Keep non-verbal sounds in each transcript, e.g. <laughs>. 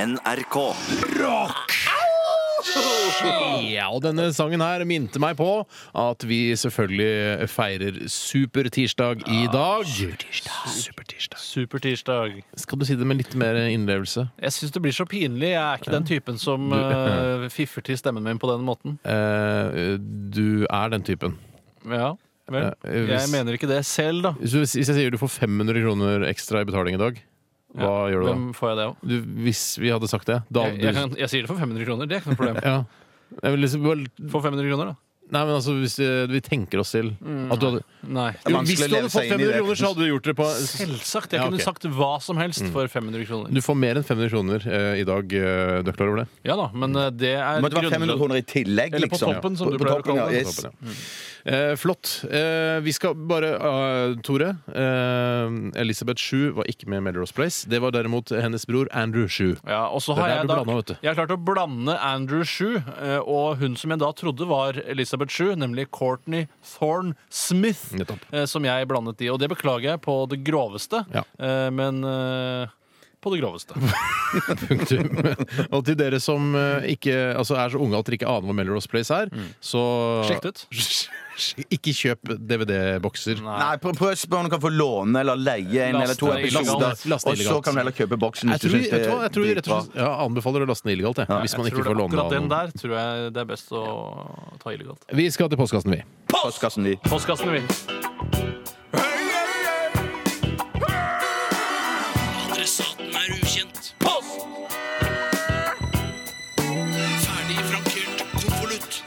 NRK. Ja, og denne sangen her minte meg på at vi selvfølgelig feirer supertirsdag i dag. Supertirsdag. Supertirsdag. Skal du si det med litt mer innlevelse? Jeg syns det blir så pinlig. Jeg er ikke den typen som <laughs> eh, fiffer til stemmen min på den måten. Eh, du er den typen. Ja, vel. Eh, hvis- Jeg mener ikke det selv, da. Hvis, du, hvis jeg sier du får 500 kroner ekstra i betaling i dag, hva gjør du da? Hvem får jeg det av? Du, hvis vi hadde sagt det, da Jeg, hadde jeg, du kan- jeg sier det for 500 kroner. Det er ikke noe <laughs> problem. ja. Jeg vil liksom, bare- For 500 kroner, da. nei, men altså, hvis eh, vi tenker oss til at du hadde Nei. jo, vanskelig Hvis å du leve hadde fått seg inn i 500 det. kroner, så hadde du gjort det på Selvsagt. Jeg Ja, ok. Mm. kunne sagt hva som helst for 500 kroner. Du får mer enn 500 kroner eh, i dag, eh, du er klar over det? Ja da, men eh, det er Men det var 500 grunnlønn. kroner i tillegg, Eller på liksom. toppen, som På- du på pleier å toppen, kalle det. ja, yes. Eh, flott. Eh, vi skal bare eh, Tore. Eh, Elisabeth Sju var ikke med i Melrose Place. Det var derimot hennes bror Andrew Sju. Ja, og så Det er har der jeg du da blanda, vet du. Jeg har klart å blande Andrew Shue eh, og hun som jeg da trodde var Elizabeth Shue, nemlig Courtney Thorne Smith, Nettopp. eh, som jeg blandet i. Og det beklager jeg på det groveste, Ja. eh, men eh, på det groveste. Punktum. og til dere som eh, ikke, altså er så unge at dere ikke aner hva Melrose Place er, så Sjekk det ut. Ikke kjøp DVD-bokser. Nei, prøv, prøv å spørre om du kan få låne eller leie en Laste eller to det illegalt. episoder. Laste Og så illegalt. kan du heller kjøpe boksen Jeg hvis du tror, syns det vet du hva, jeg tror rett og dritbra. slett, ja, anbefaler å laste den illegalt, jeg, hvis man Jeg ikke tror får det- låne Akkurat den av noen. der tror jeg det er best å ta illegalt. Vi skal til postkassen, vi. Postkassen din. Postkassen vi. Adressaten er ukjent. Post! Ferdig frankert konvolutt.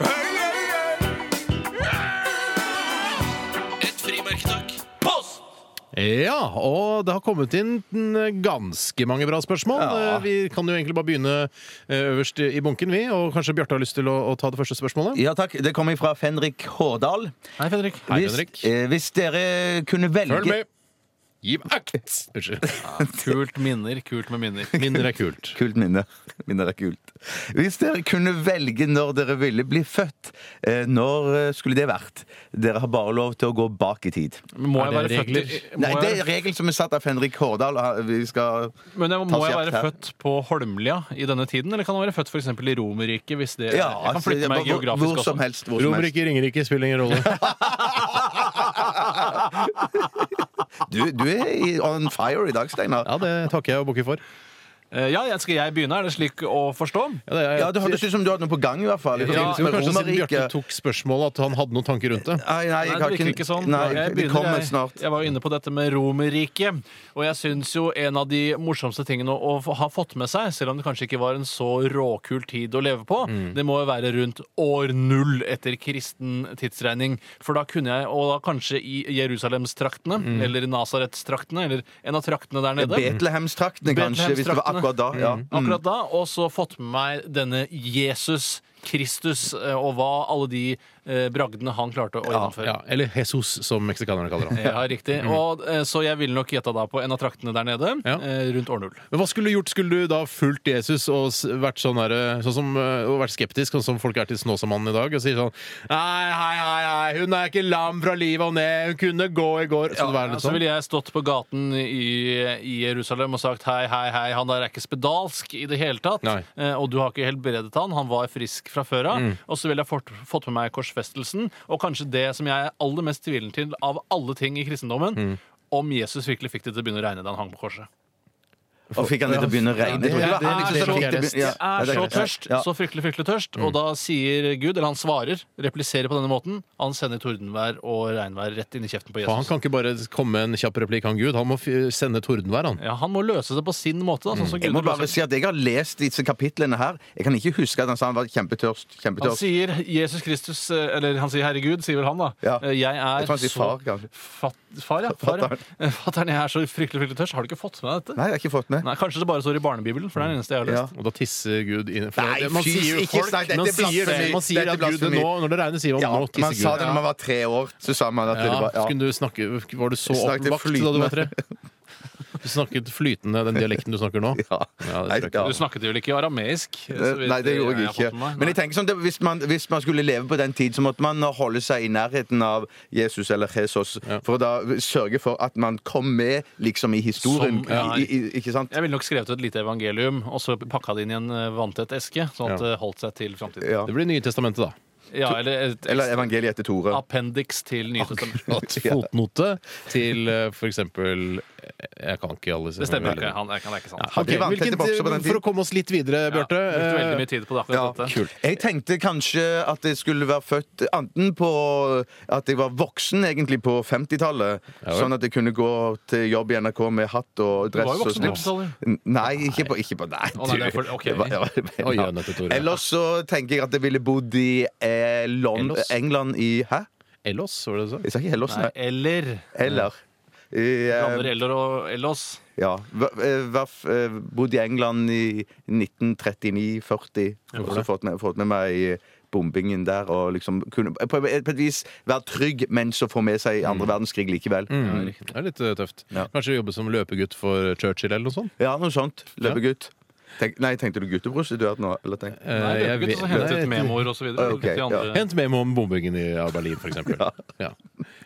Et frimerke, takk. Post! Ja, og det har kommet inn mm, ganske mange bra spørsmål. Ja. Eh, Vi kan jo egentlig bare begynne eh, øverst i bunken, vi. Og kanskje Bjarte har lyst til å, å ta det første spørsmålet? Ja takk, Det kommer fra Fenrik Hårdal. Hei, Fredrik. Hei, Hvis, Henrik. eh, hvis dere kunne velge Følg med! Gi meg akt! Unnskyld. Kult minner, kult med minner. Minner er kult. Kult minne. <laughs> Minner er kult. Hvis dere kunne velge når dere ville bli født, eh, når eh, skulle det vært? Dere har bare lov til å gå bak i tid. Må Er jeg være det født i, regler? må Nei, jeg Det være er en regel som er satt av Fenrik Hårdal. og han- Vi skal Men jeg, Ta må jeg kjapt være her. født på Holmlia i denne tiden, eller kan jeg være født f.eks. i Romerriket? Hvis det, Ja, jeg kan flytte meg altså, hvor, geografisk hvor som også. helst. Hvor som helst. Romerike, Ringerike spiller ingen <laughs> rolle. Du, du er i- on fire i dag, Steinar. Ja, det takker jeg og bukker for. Eh, Ja, jeg- skal jeg begynne? Er det slik å forstå? Ja, det er, Ja, Det hørtes ut som du hadde noe på gang. i hvert fall i ja, forbindelse det var med kanskje siden Bjarte Romerriket. tok spørsmålet, at han hadde noen tanker rundt det. Nei, nei, jeg Nei, har det virker ikke sånn. Nei, jeg, det begynner, kommer jeg, snart. jeg var jo inne på dette med Romerriket, og jeg syns jo en av de morsomste tingene å, å ha fått med seg, selv om det kanskje ikke var en så råkul tid å leve på, Mm. det må jo være rundt år null etter kristen tidsregning. For da kunne jeg, og da kanskje i Jerusalemstraktene, Mm. eller Nasaretstraktene, eller en av traktene der nede. Betlehemstraktene, kanskje, hvis det var akkurat da. Ja. akkurat da, og så fått med meg denne Jesus Kristus, eh, og hva alle de eh, bragdene han klarte å gjennomføre. Ja, eller Jesus, som meksikanerne kaller han. Ja, riktig. Og, eh, så jeg ville nok gjetta da på en av traktene der nede, mm. Ja. eh, rundt år null. Men Hva skulle du gjort? Skulle du da fulgt Jesus og s- vært sånn der, sånn som, eh, og vært skeptisk, sånn som folk er til Snåsamannen i dag, og sier sånn Nei, hei, hei, hei, hun er ikke lam fra livet og ned, hun kunne gå i går. Så det var Ja, altså, litt så sånn. ville jeg stått på gaten i, i Jerusalem og sagt hei, hei, hei, han der er ikke spedalsk i det hele tatt, Nei. Mm. eh, og du har ikke helbredet han, han var frisk fra før av. Og så ville jeg fått, fått med meg korsfestelsen, og kanskje det som jeg er aller mest tvilende til av alle ting i kristendommen, Mm. om Jesus virkelig fikk det til å begynne å regne da han hang på korset. Og fikk han det til å begynne å regne. Jeg tror Ja, det det var han er som litt fikk det rest. begyn- ja. er Ja, så det er rett. tørst, Ja. Mm. så fryktelig, fryktelig tørst. Og da sier Gud, eller han svarer, repliserer på denne måten, han sender tordenvær og regnvær rett inn i kjeften på For han Jesus. kan ikke bare komme med en kjapp replikk, han Gud. Han må f sende tordenvær, han. Ja, han må løse det på sin måte, da, sånn som Mm. Jeg Gud må løser bare det. si at jeg har lest disse kapitlene her. Jeg kan ikke huske at han sa han var kjempetørst. Han kjempetørst. sier Jesus Kristus, eh, eller han sier Herre Gud, sier vel han, da. Ja. Eh, Jeg er Jeg tror han så sier far, kanskje. Fat, far, ja. Far, ja. Fatter'n. Eh, Fatter'n, jeg er så fryktelig, fryktelig tørst. Har du ikke fått med deg dette? Nei, jeg har ikke fått med. Nei, Kanskje det bare står i barnebibelen, for det er den eneste jeg har lest. Ja. Og da tisser Gud inn for Nei, det- man fy, sier jo ikke folk, snakk, dette man er sier, blasfemi. man sier Dette er at Gud nå, blasfemi. når det regner, sier man Ja, nå man tisser Gud. sa det når man var tre år. Så sa man at det Ja, var ja. skulle du snakke, Var du så Snakket oppvakt da du var tre? flytende. snakket flytende den dialekten du snakker nå? <laughs> Ja. Ja, det tror Nei, jeg ikke. ja. Du snakket vel ikke arameisk? så vidt Eh, eh, Nei, det gjorde jeg har fått med ikke. meg. Men jeg tenker sånn, det, hvis, man, hvis man skulle leve på den tid, så måtte man holde seg i nærheten av Jesus eller Jesus, for å da sørge for at man kom med liksom i historien. Som- ja. i, i, ikke sant? Jeg ville nok skrevet et lite evangelium og så pakka det inn i en eh, vanntett eske. Sånn at Ja. det holdt seg til framtiden. Ja. Det blir Nye Testamentet, da. Ja, eller et Eller evangeliet etter Tore. appendix til Nytestamentet. <laughs> At <laughs> fotnote til eh, for eksempel eh, Jeg kan ikke alle disse Det stemmer ikke. Han, han er ikke sant. Hadde Ok, ikke vanntette hvilken- bokser på den for tiden. å komme oss litt videre, Bjarte. Ja, brukte veldig eh, mye tid på det akkurat Ja, dette. kult. Jeg tenkte kanskje at jeg skulle være født enten på At jeg var voksen egentlig på 50-tallet, vel. sånn at jeg kunne gå til jobb i NRK med hatt og var dress jo og voksen på slips. Nei, ikke på, ikke på Nei, Å, nei, det er for- ok. Det var- <laughs> det var- Oi, ja, nettopp, Tore. Ellers så tenker jeg at jeg ville bodd i eh, Lond Hellas. England i Hæ? Ellos, var det det du sa? Jeg sa ikke Hellas, Nei, nei. eller Eh, Eller. I, Blander eh, eller og Ellos. ja. Hva- eh, hva- eh, Bodd i England i 1939-40. Og så fått med, fått med meg bombingen der. Og liksom kunne på, på et vis være trygg, men så få med seg andre verdenskrig likevel. Mm. Det er litt eh, tøft. Ja. Kanskje jobbe som løpegutt for Churchill eller noe sånt? Ja, noe sånt. Løpegutt. Tenk, nei, tenkte du gutteprostituert nå? Eller tenk? Eh, Nei, jeg løpegutt, og så vet- hentet Nei, memoer og så videre. Ah, ok, Litt i andre- Hent memo om bombingen i av Berlin, f.eks. <laughs> Ja. Ja.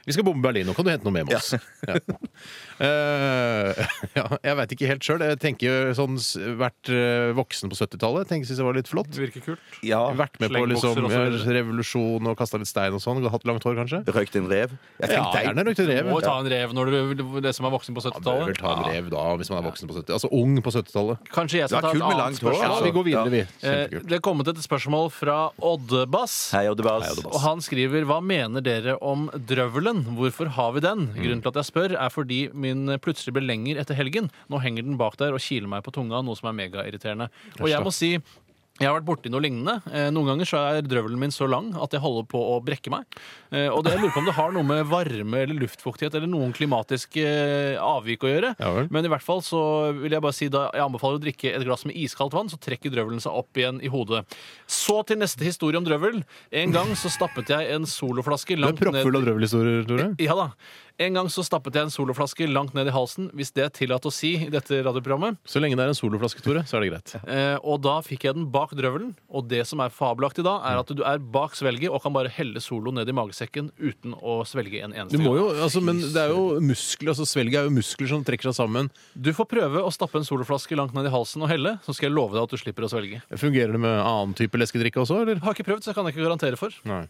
Vi skal bombe Berlin. Nå kan du hente noe memos. Ja. Eh, <laughs> ja, jeg veit ikke helt sjøl. Jeg tenker jo sånn s- vært eh, voksen på 70-tallet. Tenker Syns jeg var litt flott. Det virker kult. Ja. Vært med på slengbokser liksom, og så videre. revolusjon og kasta litt stein og sånn. Hatt langt hår, kanskje. Røykt en rev? Jeg Ja, tenkte- gjerne røykt en rev. Må jo ta en rev når du det som er voksen på Man bør vel 70-tallet. ta en rev da, hvis man er voksen på 70 Altså ung på 70-tallet. Kanskje jeg Det skal var ta et kult med annet langt hår, Ja, altså. spørsmål. vi går videre, vi. Eh, Kjempekult. Det er kommet et spørsmål fra Oddebass. Hei, Oddebass. Og han skriver Hva mener dere om drøvelen? Hvorfor har vi den? Grunnen til at jeg spør, er fordi min plutselig ble lenger etter helgen. Nå henger den bak der og kiler meg på tunga, noe som er megairriterende. Og jeg må si jeg har vært borti noe lignende. Eh, Noen ganger så er drøvelen min så lang at jeg holder på å brekke meg. Eh, Og det jeg lurer på om det har noe med varme eller luftfuktighet eller noen klimatiske eh, avvik å gjøre. Ja vel. Men i hvert fall så vil jeg bare si da jeg anbefaler å drikke et glass med iskaldt vann, så trekker drøvelen seg opp igjen i hodet. Så til neste historie om drøvel. En gang så stappet jeg en Du soloflaske er langt proppfull av drøvelhistorier, Tore. Ja da. En gang så stappet jeg en soloflaske langt ned i halsen, hvis det er tillatt å si i dette radioprogrammet. Så lenge det er en soloflaske, Tore, så er det greit. Eh, og da fikk jeg den bak drøvelen. Og det som er fabelaktig da, er at du er bak svelget og kan bare helle solo ned i magesekken uten å svelge en Du eneste må gang. jo, altså, men det er jo muskler, altså Svelget er jo muskler som trekker seg sammen. Du får prøve å stappe en soloflaske langt ned i halsen og helle, så skal jeg love deg at du slipper å svelge. Fungerer det med annen type leskedrikke også, eller? Har ikke prøvd, så jeg kan ikke garantere for. Nei.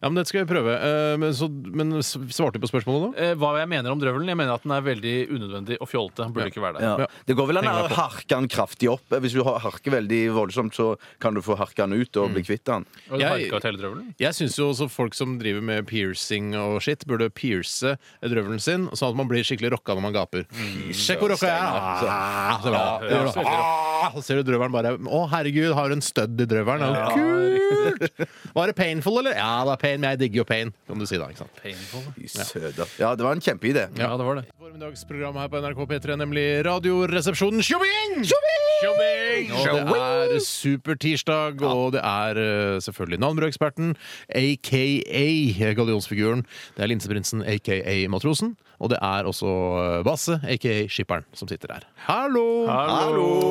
Ja, Men dette skal vi prøve. Eh, Men, så, men s- svarte du på spørsmålet nå? Eh, hva jeg mener om drøvelen? Jeg mener at den er veldig unødvendig og fjollete. Den Burde ikke være der. Ja. Det går vel an å harke den kraftig opp. Hvis du har- harker veldig voldsomt, så kan du få harka den ut Mm. og bli kvitt den. Og du Jeg- harka ut hele drøvelen? Jeg syns jo også folk som driver med piercing og shit, burde pierce drøvelen sin, sånn at man blir skikkelig rocka når man gaper. Sjekk hvor rocka jeg er! da. Ah, så bra. Det gjør det. Ah, Så ser du drøvelen bare Å, herregud, har hun stødd i drøvelen? Ja, Kult! Var det painful, eller? Ja, det er pain, men jeg digger jo pain, kan du si da. ikke sant? Painful. Fy søder. Ja, det var en kjempeidé. Ja, det var det. Formiddagsprogram her på NRK P3, nemlig Radioresepsjonen Tjobbing! Tjobbing! Og det er supertirsdag, og det er eh, selvfølgelig navnbrødeksperten, aka gallionsfiguren. Det er Linseprinsen, aka Matrosen. Og det er også eh, Basse, aka Skipperen, som sitter der. Hallo!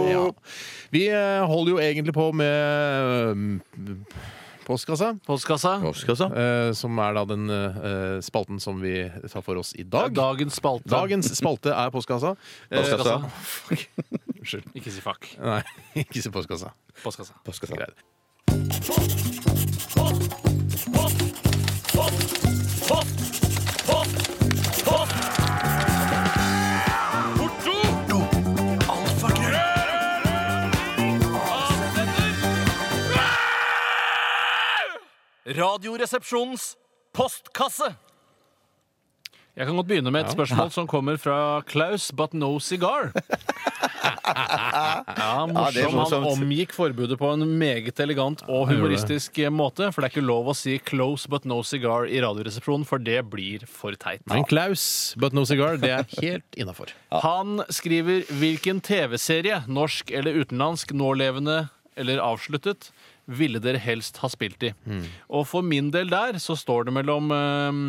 Ja. Vi eh, holder jo egentlig på med mm, postkassa. Postkassa. eh, som er da den eh, spalten som vi tar for oss i dag. Dagens spalte. Dagens spalte er postkassa. Eh, Postkassa. Unnskyld. Ikke si fuck. Nei, <laughs> ikke si postkassa. Postkassa. Greit. Radioresepsjonens postkasse. Jeg kan godt begynne med et spørsmål som kommer fra Klaus But No Cigar. Ja, det morsom. er Han morsomt. omgikk forbudet på en meget elegant og humoristisk eh, måte. For det er ikke lov å si 'close but no cigar' i Radioresepsjonen, for det blir for teit. Men Klaus, but no cigar, det er helt <laughs> innafor. Han skriver hvilken TV-serie, norsk eller utenlandsk, nålevende eller avsluttet, ville dere helst ha spilt i? Og for min del der så står det mellom eh,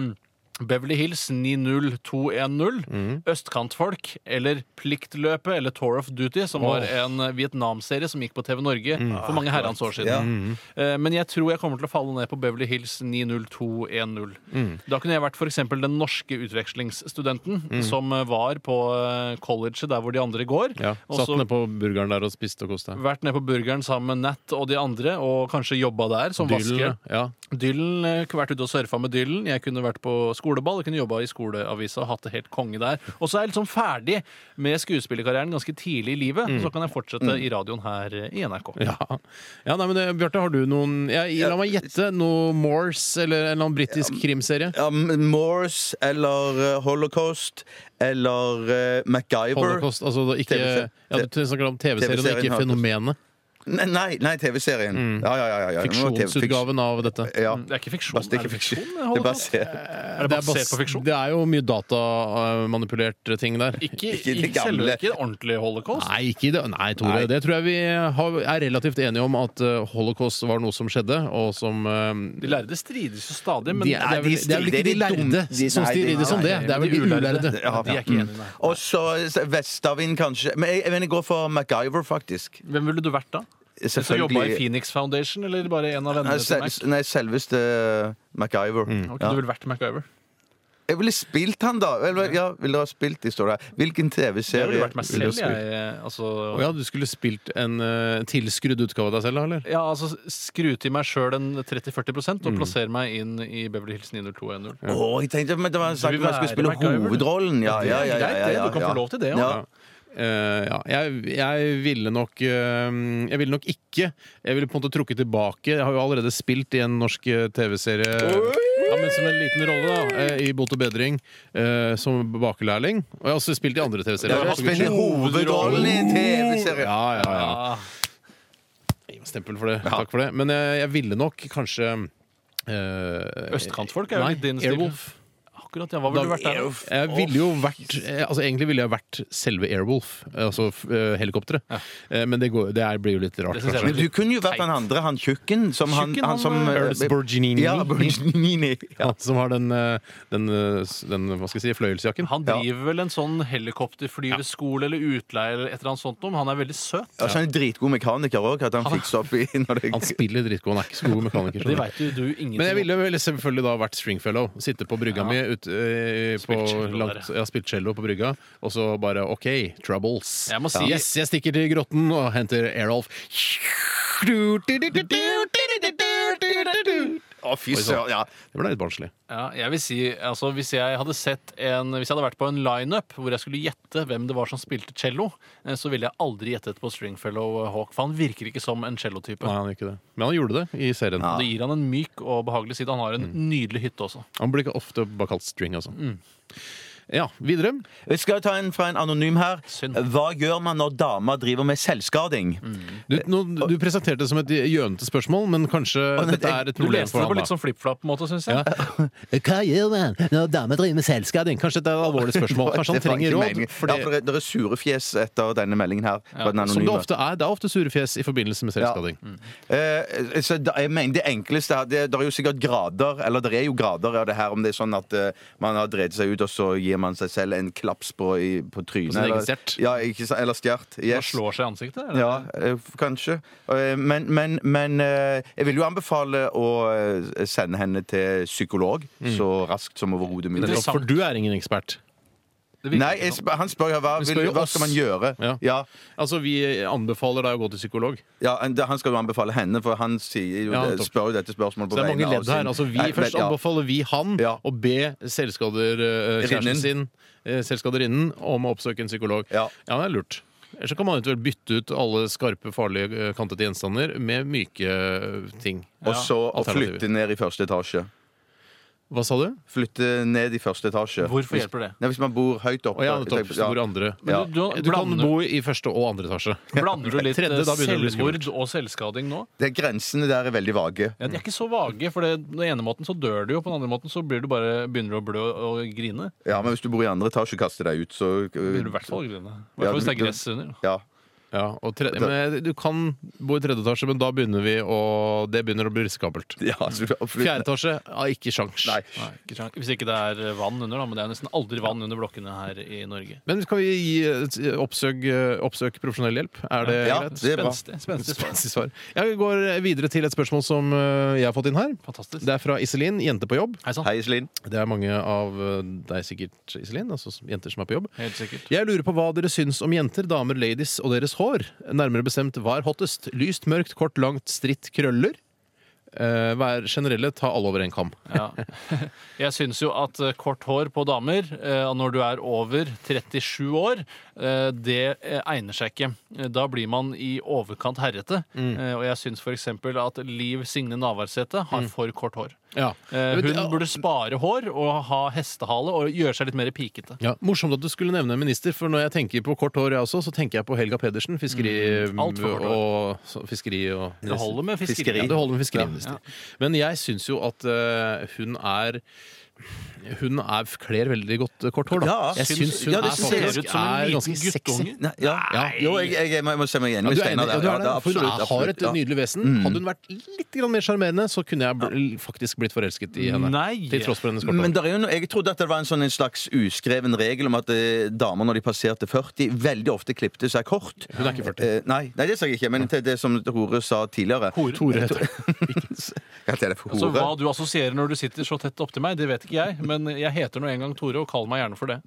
Beverly Hills 90210, Østkantfolk eller Pliktløpet eller Tour of Duty, som var en eh, Vietnam-serie som gikk på TV Norge Mm. for mange herrens år siden. Ja. Eh, Men jeg tror jeg kommer til å falle ned på Beverly Hills 90210. Mm. Da kunne jeg vært f.eks. den norske utvekslingsstudenten Mm. som eh, var på eh, colleget der hvor de andre går. Ja, og Satt så ned på burgeren der og spiste og koste. vært ned på burgeren sammen med Nat og de andre, og kanskje jobba der som vasker. Dylan, ja. Dylan eh, kunne vært ute og surfa med Dylan. Jeg kunne vært på skoleball, jeg kunne jobba i skoleavisa og hatt det helt konge der. Og så er jeg liksom ferdig med skuespillerkarrieren ganske tidlig i livet. Mm. Så kan jeg fortsette i radioen her eh, i NRK. Ja. ja, nei, men det, Bjarte, har du noen ja, La meg gjette. Noe Morse eller en eller annen britisk krimserie? Ja, M- Morse eller eh, Holocaust eller eh, MacGyver. Holocaust, altså da ikke TV-serien. ja, Du snakker om TV-serien og TV-serien ikke har- fenomenet. Nei, nei, nei TV-serien. Mm. Ja, ja, ja, ja, ja. Nå er det TV fiks- Fiksjonsutgaven av dette. Ja. Det er ikke fiksjon. Bas- Altså, Det er ikke Mm. fiksjon? fiksjon. jeg Det er holder på? basert Er det basert på fiksjon? Det er jo mye datamanipulert ting der. Ikke, Ikke det ikke selve gamle. ikke ordentlig holocaust? Nei, ikke i det. Nei, Tore. Nei. Det tror jeg vi har, er relativt enige om at eh, holocaust var noe som skjedde, og som eh, De lærde strides jo stadig, men de, det, er de vel, det er vel ikke de stri- det er de lærde dum- de- som nei, de- strides om det. nei, Det er vel de ulærde. Ja, Mm. De er ikke enige, nei. Og så så Vestavind, kanskje. Men jeg, jeg, mener, jeg går for MacGyver, faktisk. Hvem ville du vært da? Som jobba i Phoenix Foundation, eller bare en av Nei, vennene til sel, Mac? Mm. nei, selveste eh, MacGyver. Ok, Ja. Du ville vært MacGyver. Jeg ville spilt han, da. Eller, ja, ville dere ha spilt de, står det. her. Hvilken Jeg ville TV-serie vært meg ville selv, dere spilt? jeg. Altså, Å ja, du skulle spilt en eh, tilskrudd utgave av deg selv, da, eller? Ja, altså skru til meg sjøl en 30-40 Mm. og plasser meg inn i Beverly Hills 90210. Å, jeg tenkte men det var sagt vil at man skulle være spille MacGyver, du. hovedrollen. Ja, Det ja, ja, er ja, greit, ja, det. ja, Du kan få ja. lov til det, Ja. ja. Eh, ja. Jeg, jeg ville nok eh, Jeg ville nok ikke Jeg ville på en måte trukket tilbake. Jeg har jo allerede spilt i en norsk eh, TV-serie. Ja, men Som en liten rolle da eh, i Bot og bedring eh, som bakelærling. Og jeg har også spilt i andre Ja, TV-serier. du spiller hovedrollen i en TV-serie! Ja, ja, ja. Ah, Gi meg stempel for det. Takk for det. Men jeg, jeg ville nok kanskje eh, Østkantfolk er jo nei, litt din stil. Airwolf. Akkurat, ja. Hva ville du vært der? da? Jeg ville jo vært eh, Altså Egentlig ville jeg vært selve Airwolf, eh, altså f- eh, helikopteret. Eh, Men det, går, det er, blir jo litt rart. Det synes jeg kanskje. Men du kunne jo vært han andre, han tjukken. Som han, Tjukken, han som han, eh, Ernest Borgnini. Ja, Borgnini. Ja. Han som har den, eh, den, eh, s- den hva skal jeg si, fløyelsjakken. Han driver vel en sånn helikopterflyveskole eller utleie eller et eller annet sånt noe, men han er veldig søt. Altså, han er en dritgod mekaniker òg, at han fikser opp i <laughs> når det Han spiller dritgod, han er ikke så god mekaniker. Det skjønner du. veit jo du ingenting Men jeg ville vel selvfølgelig da vært stringfellow. Sitte på brygga mi, ut, eh, på Spilt cello langt, der, jeg har spilt cello på brygga, og så bare OK, troubles. Jeg må si- Yes, jeg stikker til grotten og henter Airolf. Det Å, fy søren. Ja. ble litt barnslig. Ja, jeg vil si, altså hvis jeg hadde sett en Hvis jeg hadde vært på en lineup hvor jeg skulle gjette hvem det var som spilte cello, eh, så ville jeg aldri gjettet på Stringfellow Hawk, for han virker ikke som en cellotype. Nei, han gjør ikke det. Men han gjorde det i serien. Det gir han en myk og behagelig side. Han har en nydelig hytte også. Han blir ikke ofte bare kalt string, altså. Mm. Ja, videre. Jeg skal ta en fra en anonym her. Synd. Hva gjør man når dama driver med selvskading? Du, nå, du presenterte det som et gjønete spørsmål, men kanskje dette er et Du problem leste for det på han, litt da. sånn flipp-flapp-måte, syns jeg. Ja. <laughs> Hva gjør man når damer driver med selvskading? Kanskje dette er et alvorlig spørsmål. Kanskje han Det var ikke trenger råd? meningen. fordi- Ja, for det, det er sure fjes etter denne meldingen her. fra den som det anonyme. Mm. ofte er. Det er ofte sure fjes i forbindelse med selvskading. Eh, så da, jeg mener det enkleste her det, det er jo sikkert grader, eller det er jo grader av det her, om det er sånn at eh, man har drevet seg ut, og så gir man seg selv en klaps på, i, på trynet. sin egen eller- stjert. Ja, ikke, sant, eller stjert. Han Yes. slår seg i ansiktet. eller? Ja, eh, f- kanskje. Eh, Men, men, men eh, jeg vil jo anbefale å eh, sende henne til psykolog så raskt som overhodet mulig. Interessant. For du Mm. er ingen ekspert. Det virker Nei, ikke jeg, sånn. sp- han spør jo hva, Han vil, spør jo hva oss. skal man gjøre. Ja. Ja, Altså, vi anbefaler deg å gå til psykolog. ja, han- det- Han skal jo anbefale henne, for han sier jo, Ja, det- nettopp. spør jo dette spørsmålet Så på det er mange vegne av ledd her. sin- Altså, vi Nei, først men- ja. anbefaler vi han Ja. å be selvskaderkjæresten Rinnen. sin, eh, selvskaderinnen, om å oppsøke en psykolog. Ja. det er lurt. Ellers så kan man eventuelt bytte ut alle skarpe, farlige, eh, kantete gjenstander med myke eh, ting. Og så å Alternativet. flytte ned i første etasje. Hva sa du? Flytte ned i første etasje. Hvorfor hjelper det? Nei, Hvis man bor høyt oppe. Å ja, nettopp. Jeg tenker- Så bor andre. Ja. Men du, du, Du kan blander, bo i første og andre etasje. blander du litt eh, Tredje, da begynner det å bli selvmord og selvskading nå? Det, grensene der er veldig vage. Ja, de er ikke så vage, for det, den ene måten så dør du jo, på den andre måten så blir du bare, begynner du å blø og grine. Ja, Men hvis du bor i andre etasje og kaster deg ut, så Begynner du i hvert fall å grine. I Ja, hvert fall hvis det er du- gress under. Ja. <laughs> Ja, og tre, men eh, du kan bo i tredje etasje, men da begynner vi å Det begynner å bli risikabelt. Ja, altså, absolutt. Fjerde etasje? Ja, ikke sjans. Nei. Nei, ikke sant. Hvis ikke det er vann under, da. Men det er nesten aldri vann under blokkene her i Norge. Men kan vi gi, eh, oppsøk, eh, oppsøk profesjonell hjelp? Er det Ja, greit? det er bra. Spenstig. spenstig svar. Spenstig svar. Jeg går videre til et spørsmål som eh, jeg har fått inn her. Fantastisk. Det er fra Iselin, jente på jobb. Hei sann. Hei, Iselin. Det er mange av eh, deg sikkert, Iselin, altså som- jenter som er på jobb. Helt sikkert. Jeg lurer på hva dere syns om jenter, damer, ladies og deres hår. Nærmere bestemt hva er hottest? Lyst, mørkt, kort, langt, stritt, krøller? Eh, vær generelle, ta alle over en kam. Ja. <laughs> Jeg syns jo at eh, kort hår på damer eh, når du er over 37 år, eh, det eh, egner seg ikke. Eh, Da blir man i overkant herrete. Mm. Eh, Og jeg syns f.eks. at Liv Signe Navarsete har for kort Mm. hår. Ja. Eh, Men det- Hun burde spare hår og ha hestehale og gjøre seg litt mer pikete. Ja, Morsomt at du skulle nevne en minister, for når jeg tenker på kort hår, jeg også, så tenker jeg på Helga Pedersen, fiskeri Mm, alt for kort og så- fiskeri og Det holder med Ja, fiskeri. det holder med fiskeriminister. Men jeg syns jo at eh, hun er hun er, kler veldig godt eh, kort hår, da. Ja, jeg syns- syns hun ja, det er, syns jeg faktisk, ut som en er liten ganske sexy. guttunge. Nei, ja. Ja. Jo, jeg, jeg, jeg må- jeg må se meg enig Ja, du er enig, med Steinar der. ja, du er Ja, det. det For hun er- er absolutt, har et absolutt, ja. Mm. nydelig vesen. Hadde hun vært litt grann mer sjarmerende, så kunne jeg bl- faktisk blitt forelsket i henne. Nei. Til tross for hennes korte Men hår. der er jo noe, jeg trodde at det var en, sånn, en slags uskreven regel om at eh, damer når de passerte 40, veldig ofte klipte seg kort. Hun er ikke 40. Eh, nei, nei, det sa jeg ikke, men til det som Hore sa tidligere. Hore? Tore heter hun. <laughs> Ja, det er det for Altså, Så hva Hore. du assosierer når du sitter så tett opptil meg, det vet ikke jeg. Men jeg heter nå en gang Tore, og kall meg gjerne for det.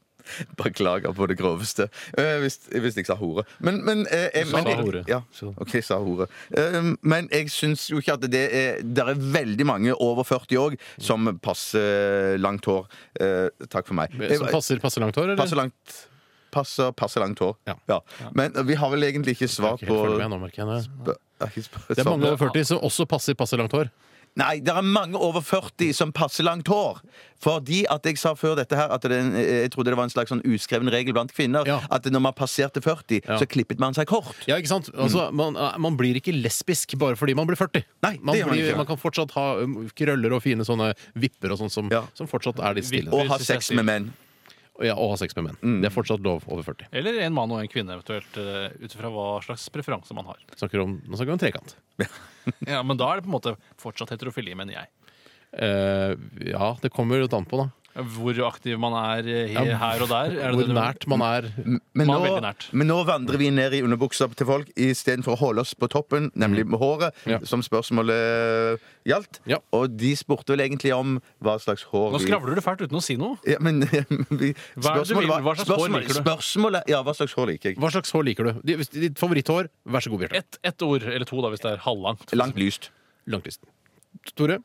Beklager på det groveste. Eh, hvis, hvis jeg sa hore. Men, men, eh, jeg- Du sa men- hore. Ja, ok, jeg sa hore. Eh, men jeg syns jo ikke at det er Det er veldig mange over 40 òg som passer langt hår. Eh, takk for meg. Som passer, passer langt hår, eller? Passe langt Passer passe langt hår. Ja. Men vi har vel egentlig ikke svar Jeg er ikke helt på ferdig med, nå, merker jeg. det. Spør- er ikke spør- Det er mange svar på- over 40 som også passer passe langt hår. Nei, det er mange over 40 som passer langt hår. Fordi at jeg sa før dette her at det, er en- jeg trodde det var en slags sånn uskreven regel blant kvinner Ja. at når man passerte 40, Ja. så klippet man seg kort. Ja, ikke sant? Mm. Altså, man, man blir ikke lesbisk bare fordi man blir 40. Nei, det man, gjør man blir, ikke. man kan fortsatt ha um, krøller og fine sånne vipper og sånn som, Ja. som fortsatt er litt stille. Og ha sex med menn. Og, ja, og ha sex med menn. Mm. Det er fortsatt lov over 40. Eller en mann og en kvinne, eventuelt, eh, ut ifra hva slags preferanse man har. Snakker om, nå snakker vi om trekant. <laughs> Ja, Men da er det på en måte fortsatt heterofili, mener jeg. Eh, ja, det kommer jo litt an på, da. Hvor aktiv man er eh, Ja, her og der. Er det det Hvor du mener? nært man er. Man er Men nå, veldig nært. men nå vandrer vi ned i underbuksa til folk istedenfor å holde oss på toppen, nemlig med håret, Mm. Ja. som spørsmålet gjaldt. Ja. Og de spurte vel egentlig om hva slags hår Nå vi- skravler du fælt uten å si noe. Ja, men <laughs> vi, Hva er det du vil? Hva slags hår spørsmålet, liker du? spørsmålet, ja, hva slags hår liker jeg? Hva slags hår liker du? Di- hvis- Ditt favoritthår? Vær så god, Bjarte. Ett ett ord, eller to, da, hvis det er halvlangt. Langt lyst. Langtlysten. Tore?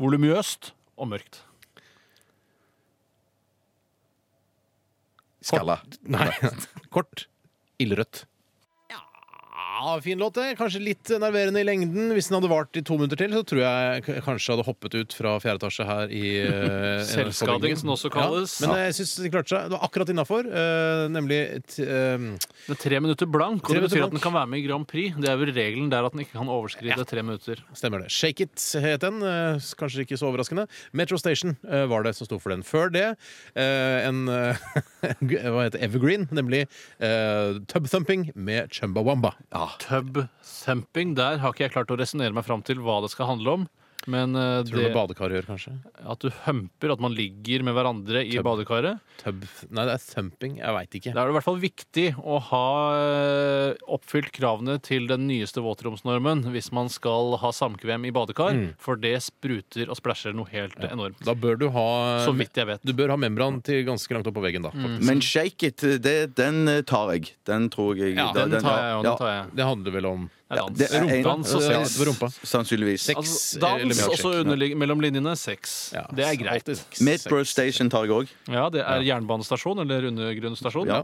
Volumiøst og mørkt. Skalla. Nei. <laughs> Kort. Ildrødt. Ja, fin låt, det. Kanskje litt nerverende i lengden. Hvis den hadde vart i to minutter til, så tror jeg k- kanskje hadde hoppet ut fra fjerde etasje her i <laughs> eh, Selvskading, som det også kalles. Ja, men eh, jeg syns de klarte seg. Det var akkurat innafor, nemlig t, eh, Det er tre minutter blank, og Tre det betyr minutter at den blank. kan være med i Grand Prix. Det er vel regelen der at den ikke kan overskride tre minutter. Stemmer det. Shake It het den. eh, Kanskje ikke så overraskende. Metro Station eh, var det som sto for den. Før det eh, en eh, <laughs> hva heter det? evergreen, nemlig eh, Tub Thumping med Chumbawamba. Tub thumping, der har ikke jeg klart å resonnere meg fram til hva det skal handle om. Men eh, Tror du det, med badekar gjør, kanskje? at du humper, at man ligger med hverandre i badekaret Tub Nei, det er thumping. Jeg veit ikke. Da er det i hvert fall viktig å ha eh, oppfylt kravene til den nyeste våtromsnormen hvis man skal ha samkvem i badekar, for det spruter og splæsjer noe helt eh, enormt. Da bør du ha Så vidt Mm. jeg vet. Du bør ha membran til ganske langt opp på veggen, da. faktisk. Men shake it, det, den eh, tar jeg. Den tror jeg Ja, da- den tar jeg, og ja. den tar jeg. Det handler vel om Det er dans. det er en- eh, Rumpedans og Ja, sex. det var rumpa. Sannsynligvis. Sex. Altså, eller dans, milkshake. og så underlig- mellom linjene sex. Ja, Det er greit. alltid sex. Midbrow Station tar jeg òg. Ja, det er jernbanestasjon eller undergrunnsstasjon. Ja.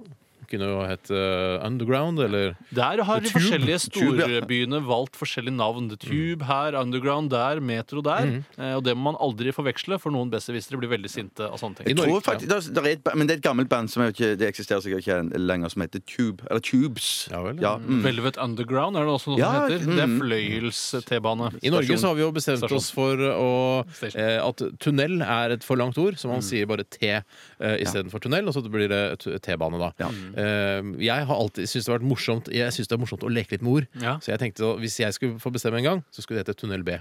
Kunne jo hett eh, Underground eller Der har de Tube. forskjellige Tube, ja. storbyene valgt forskjellige navn. Tube her, Underground der, Metro der. Mm. Eh, Og det må man aldri forveksle, for noen besserwissere blir veldig sinte av sånne ting. I Norge, Tror faktisk, det, er, et ba- men det er et gammelt band som jeg vet ikke, det eksisterer sikkert ikke lenger, som heter Tube. Eller Tubes. Ja vel. mm. Velvet Underground er det også noe Ja, som heter. Det er mm. fløyels-T-bane. I Norge så har vi jo bestemt Stasjon. oss for å, Station. eh, at tunnel Mm. er et for langt ord, så man sier bare T eh, istedenfor tunnel, og så blir det t- T-bane, da. Ja. Eh, eh, Jeg har alltid syntes det har vært morsomt Jeg synes det er morsomt å leke litt med ord. Ja. Så jeg tenkte så, hvis jeg skulle få bestemme en gang, så skulle det hete Tunnel B.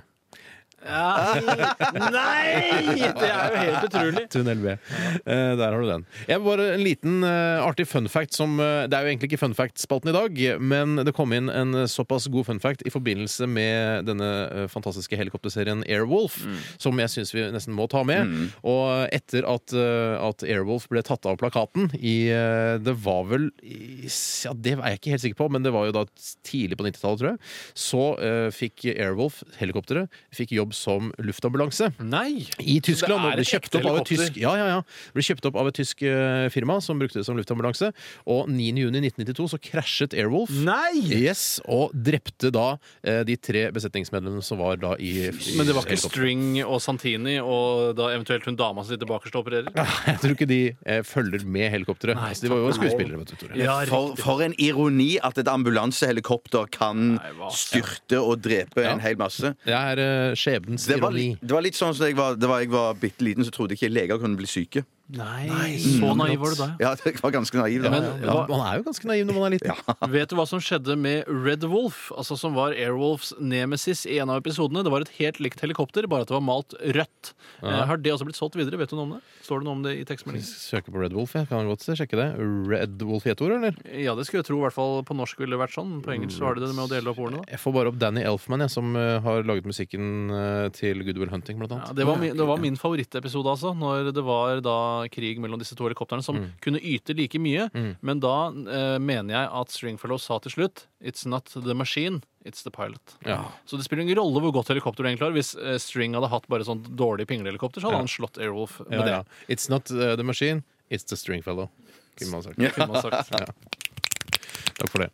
Nei! Det er jo helt utrolig. Tunnel B. Eh, der har du den. Jeg vil bare En liten eh, artig fun fact som eh, Det er jo egentlig ikke fun fact-spalten i dag, men det kom inn en eh, såpass god fun fact i forbindelse med denne eh, fantastiske helikopterserien Airwolf, som jeg syns vi nesten må ta med. Og etter at, eh, at Airwolf ble tatt av plakaten i eh, Det var vel i, Ja, det er jeg ikke helt sikker på, men det var jo da tidlig på 90-tallet, tror jeg. Så eh, fikk Airwolf, helikopteret, fikk jobb som luftambulanse. Nei! I Tyskland. Så det er Og ble et kjøpt ekte opp av et helikopter? tysk, ja, ja, ja. ble kjøpt opp av et tysk eh, firma som brukte det som luftambulanse. Og 9.6.1992 så krasjet Airwolf. Nei! Yes, og drepte da eh, de tre besetningsmedlemmene som var da i i Men det var ikke helikopteret. String og Santini og da eventuelt hun dama som sitter bakerst og opererer? <laughs> Jeg tror ikke de eh, følger med helikopteret. Nei, Altså, de var jo skuespillere, vet du, Tore. Ja, For, for en ironi at et ambulansehelikopter kan Nei, hva? styrte og drepe Ja. en hel masse. Det er eh, skjebnens Det var, ironi. litt- det var litt sånn som jeg var da jeg var bitte liten, så trodde ikke leger kunne bli syke. Nei, så naiv var du da. ja. Ja, jeg var ganske naiv da. Men Ja, hva- man er jo ganske naiv når man er liten. Vet du hva som skjedde med Red Wolf, altså som var Airwolfs nemesis i en av episodene? Det var et helt likt helikopter, bare at det var malt rødt. Eh, Har det også blitt solgt videre? Vet du noe om det? Står det noe om det i tekstmeldingen? Søker på Red Wolf, jeg kan godt sjekke det. Red Wolf i ett ord, eller? Ja, det skulle jeg tro. I hvert fall på norsk ville det vært sånn. På engelsk så har de det med å dele opp ordene. da. Jeg får bare opp Danny Elfman, jeg, som eh, har laget musikken eh, til Good Will Hunting, blant annet. Ja, det, var min, det var min favorittepisode, altså. Når det var da krig mellom disse to helikoptrene, som kunne yte like mye. Men da eh, mener jeg at Stringfellow sa til slutt It's not the machine, it's the pilot. Ja. Så det spiller ingen rolle hvor godt helikopter du egentlig har. Hvis eh, String hadde hatt bare sånn dårlig pinglehelikopter, så hadde Ja. han slått Airwolf med Ja, det. ja. It's not uh, the machine, it's the string fellow. Kunne man sagt. Kunne man sagt. Takk for det.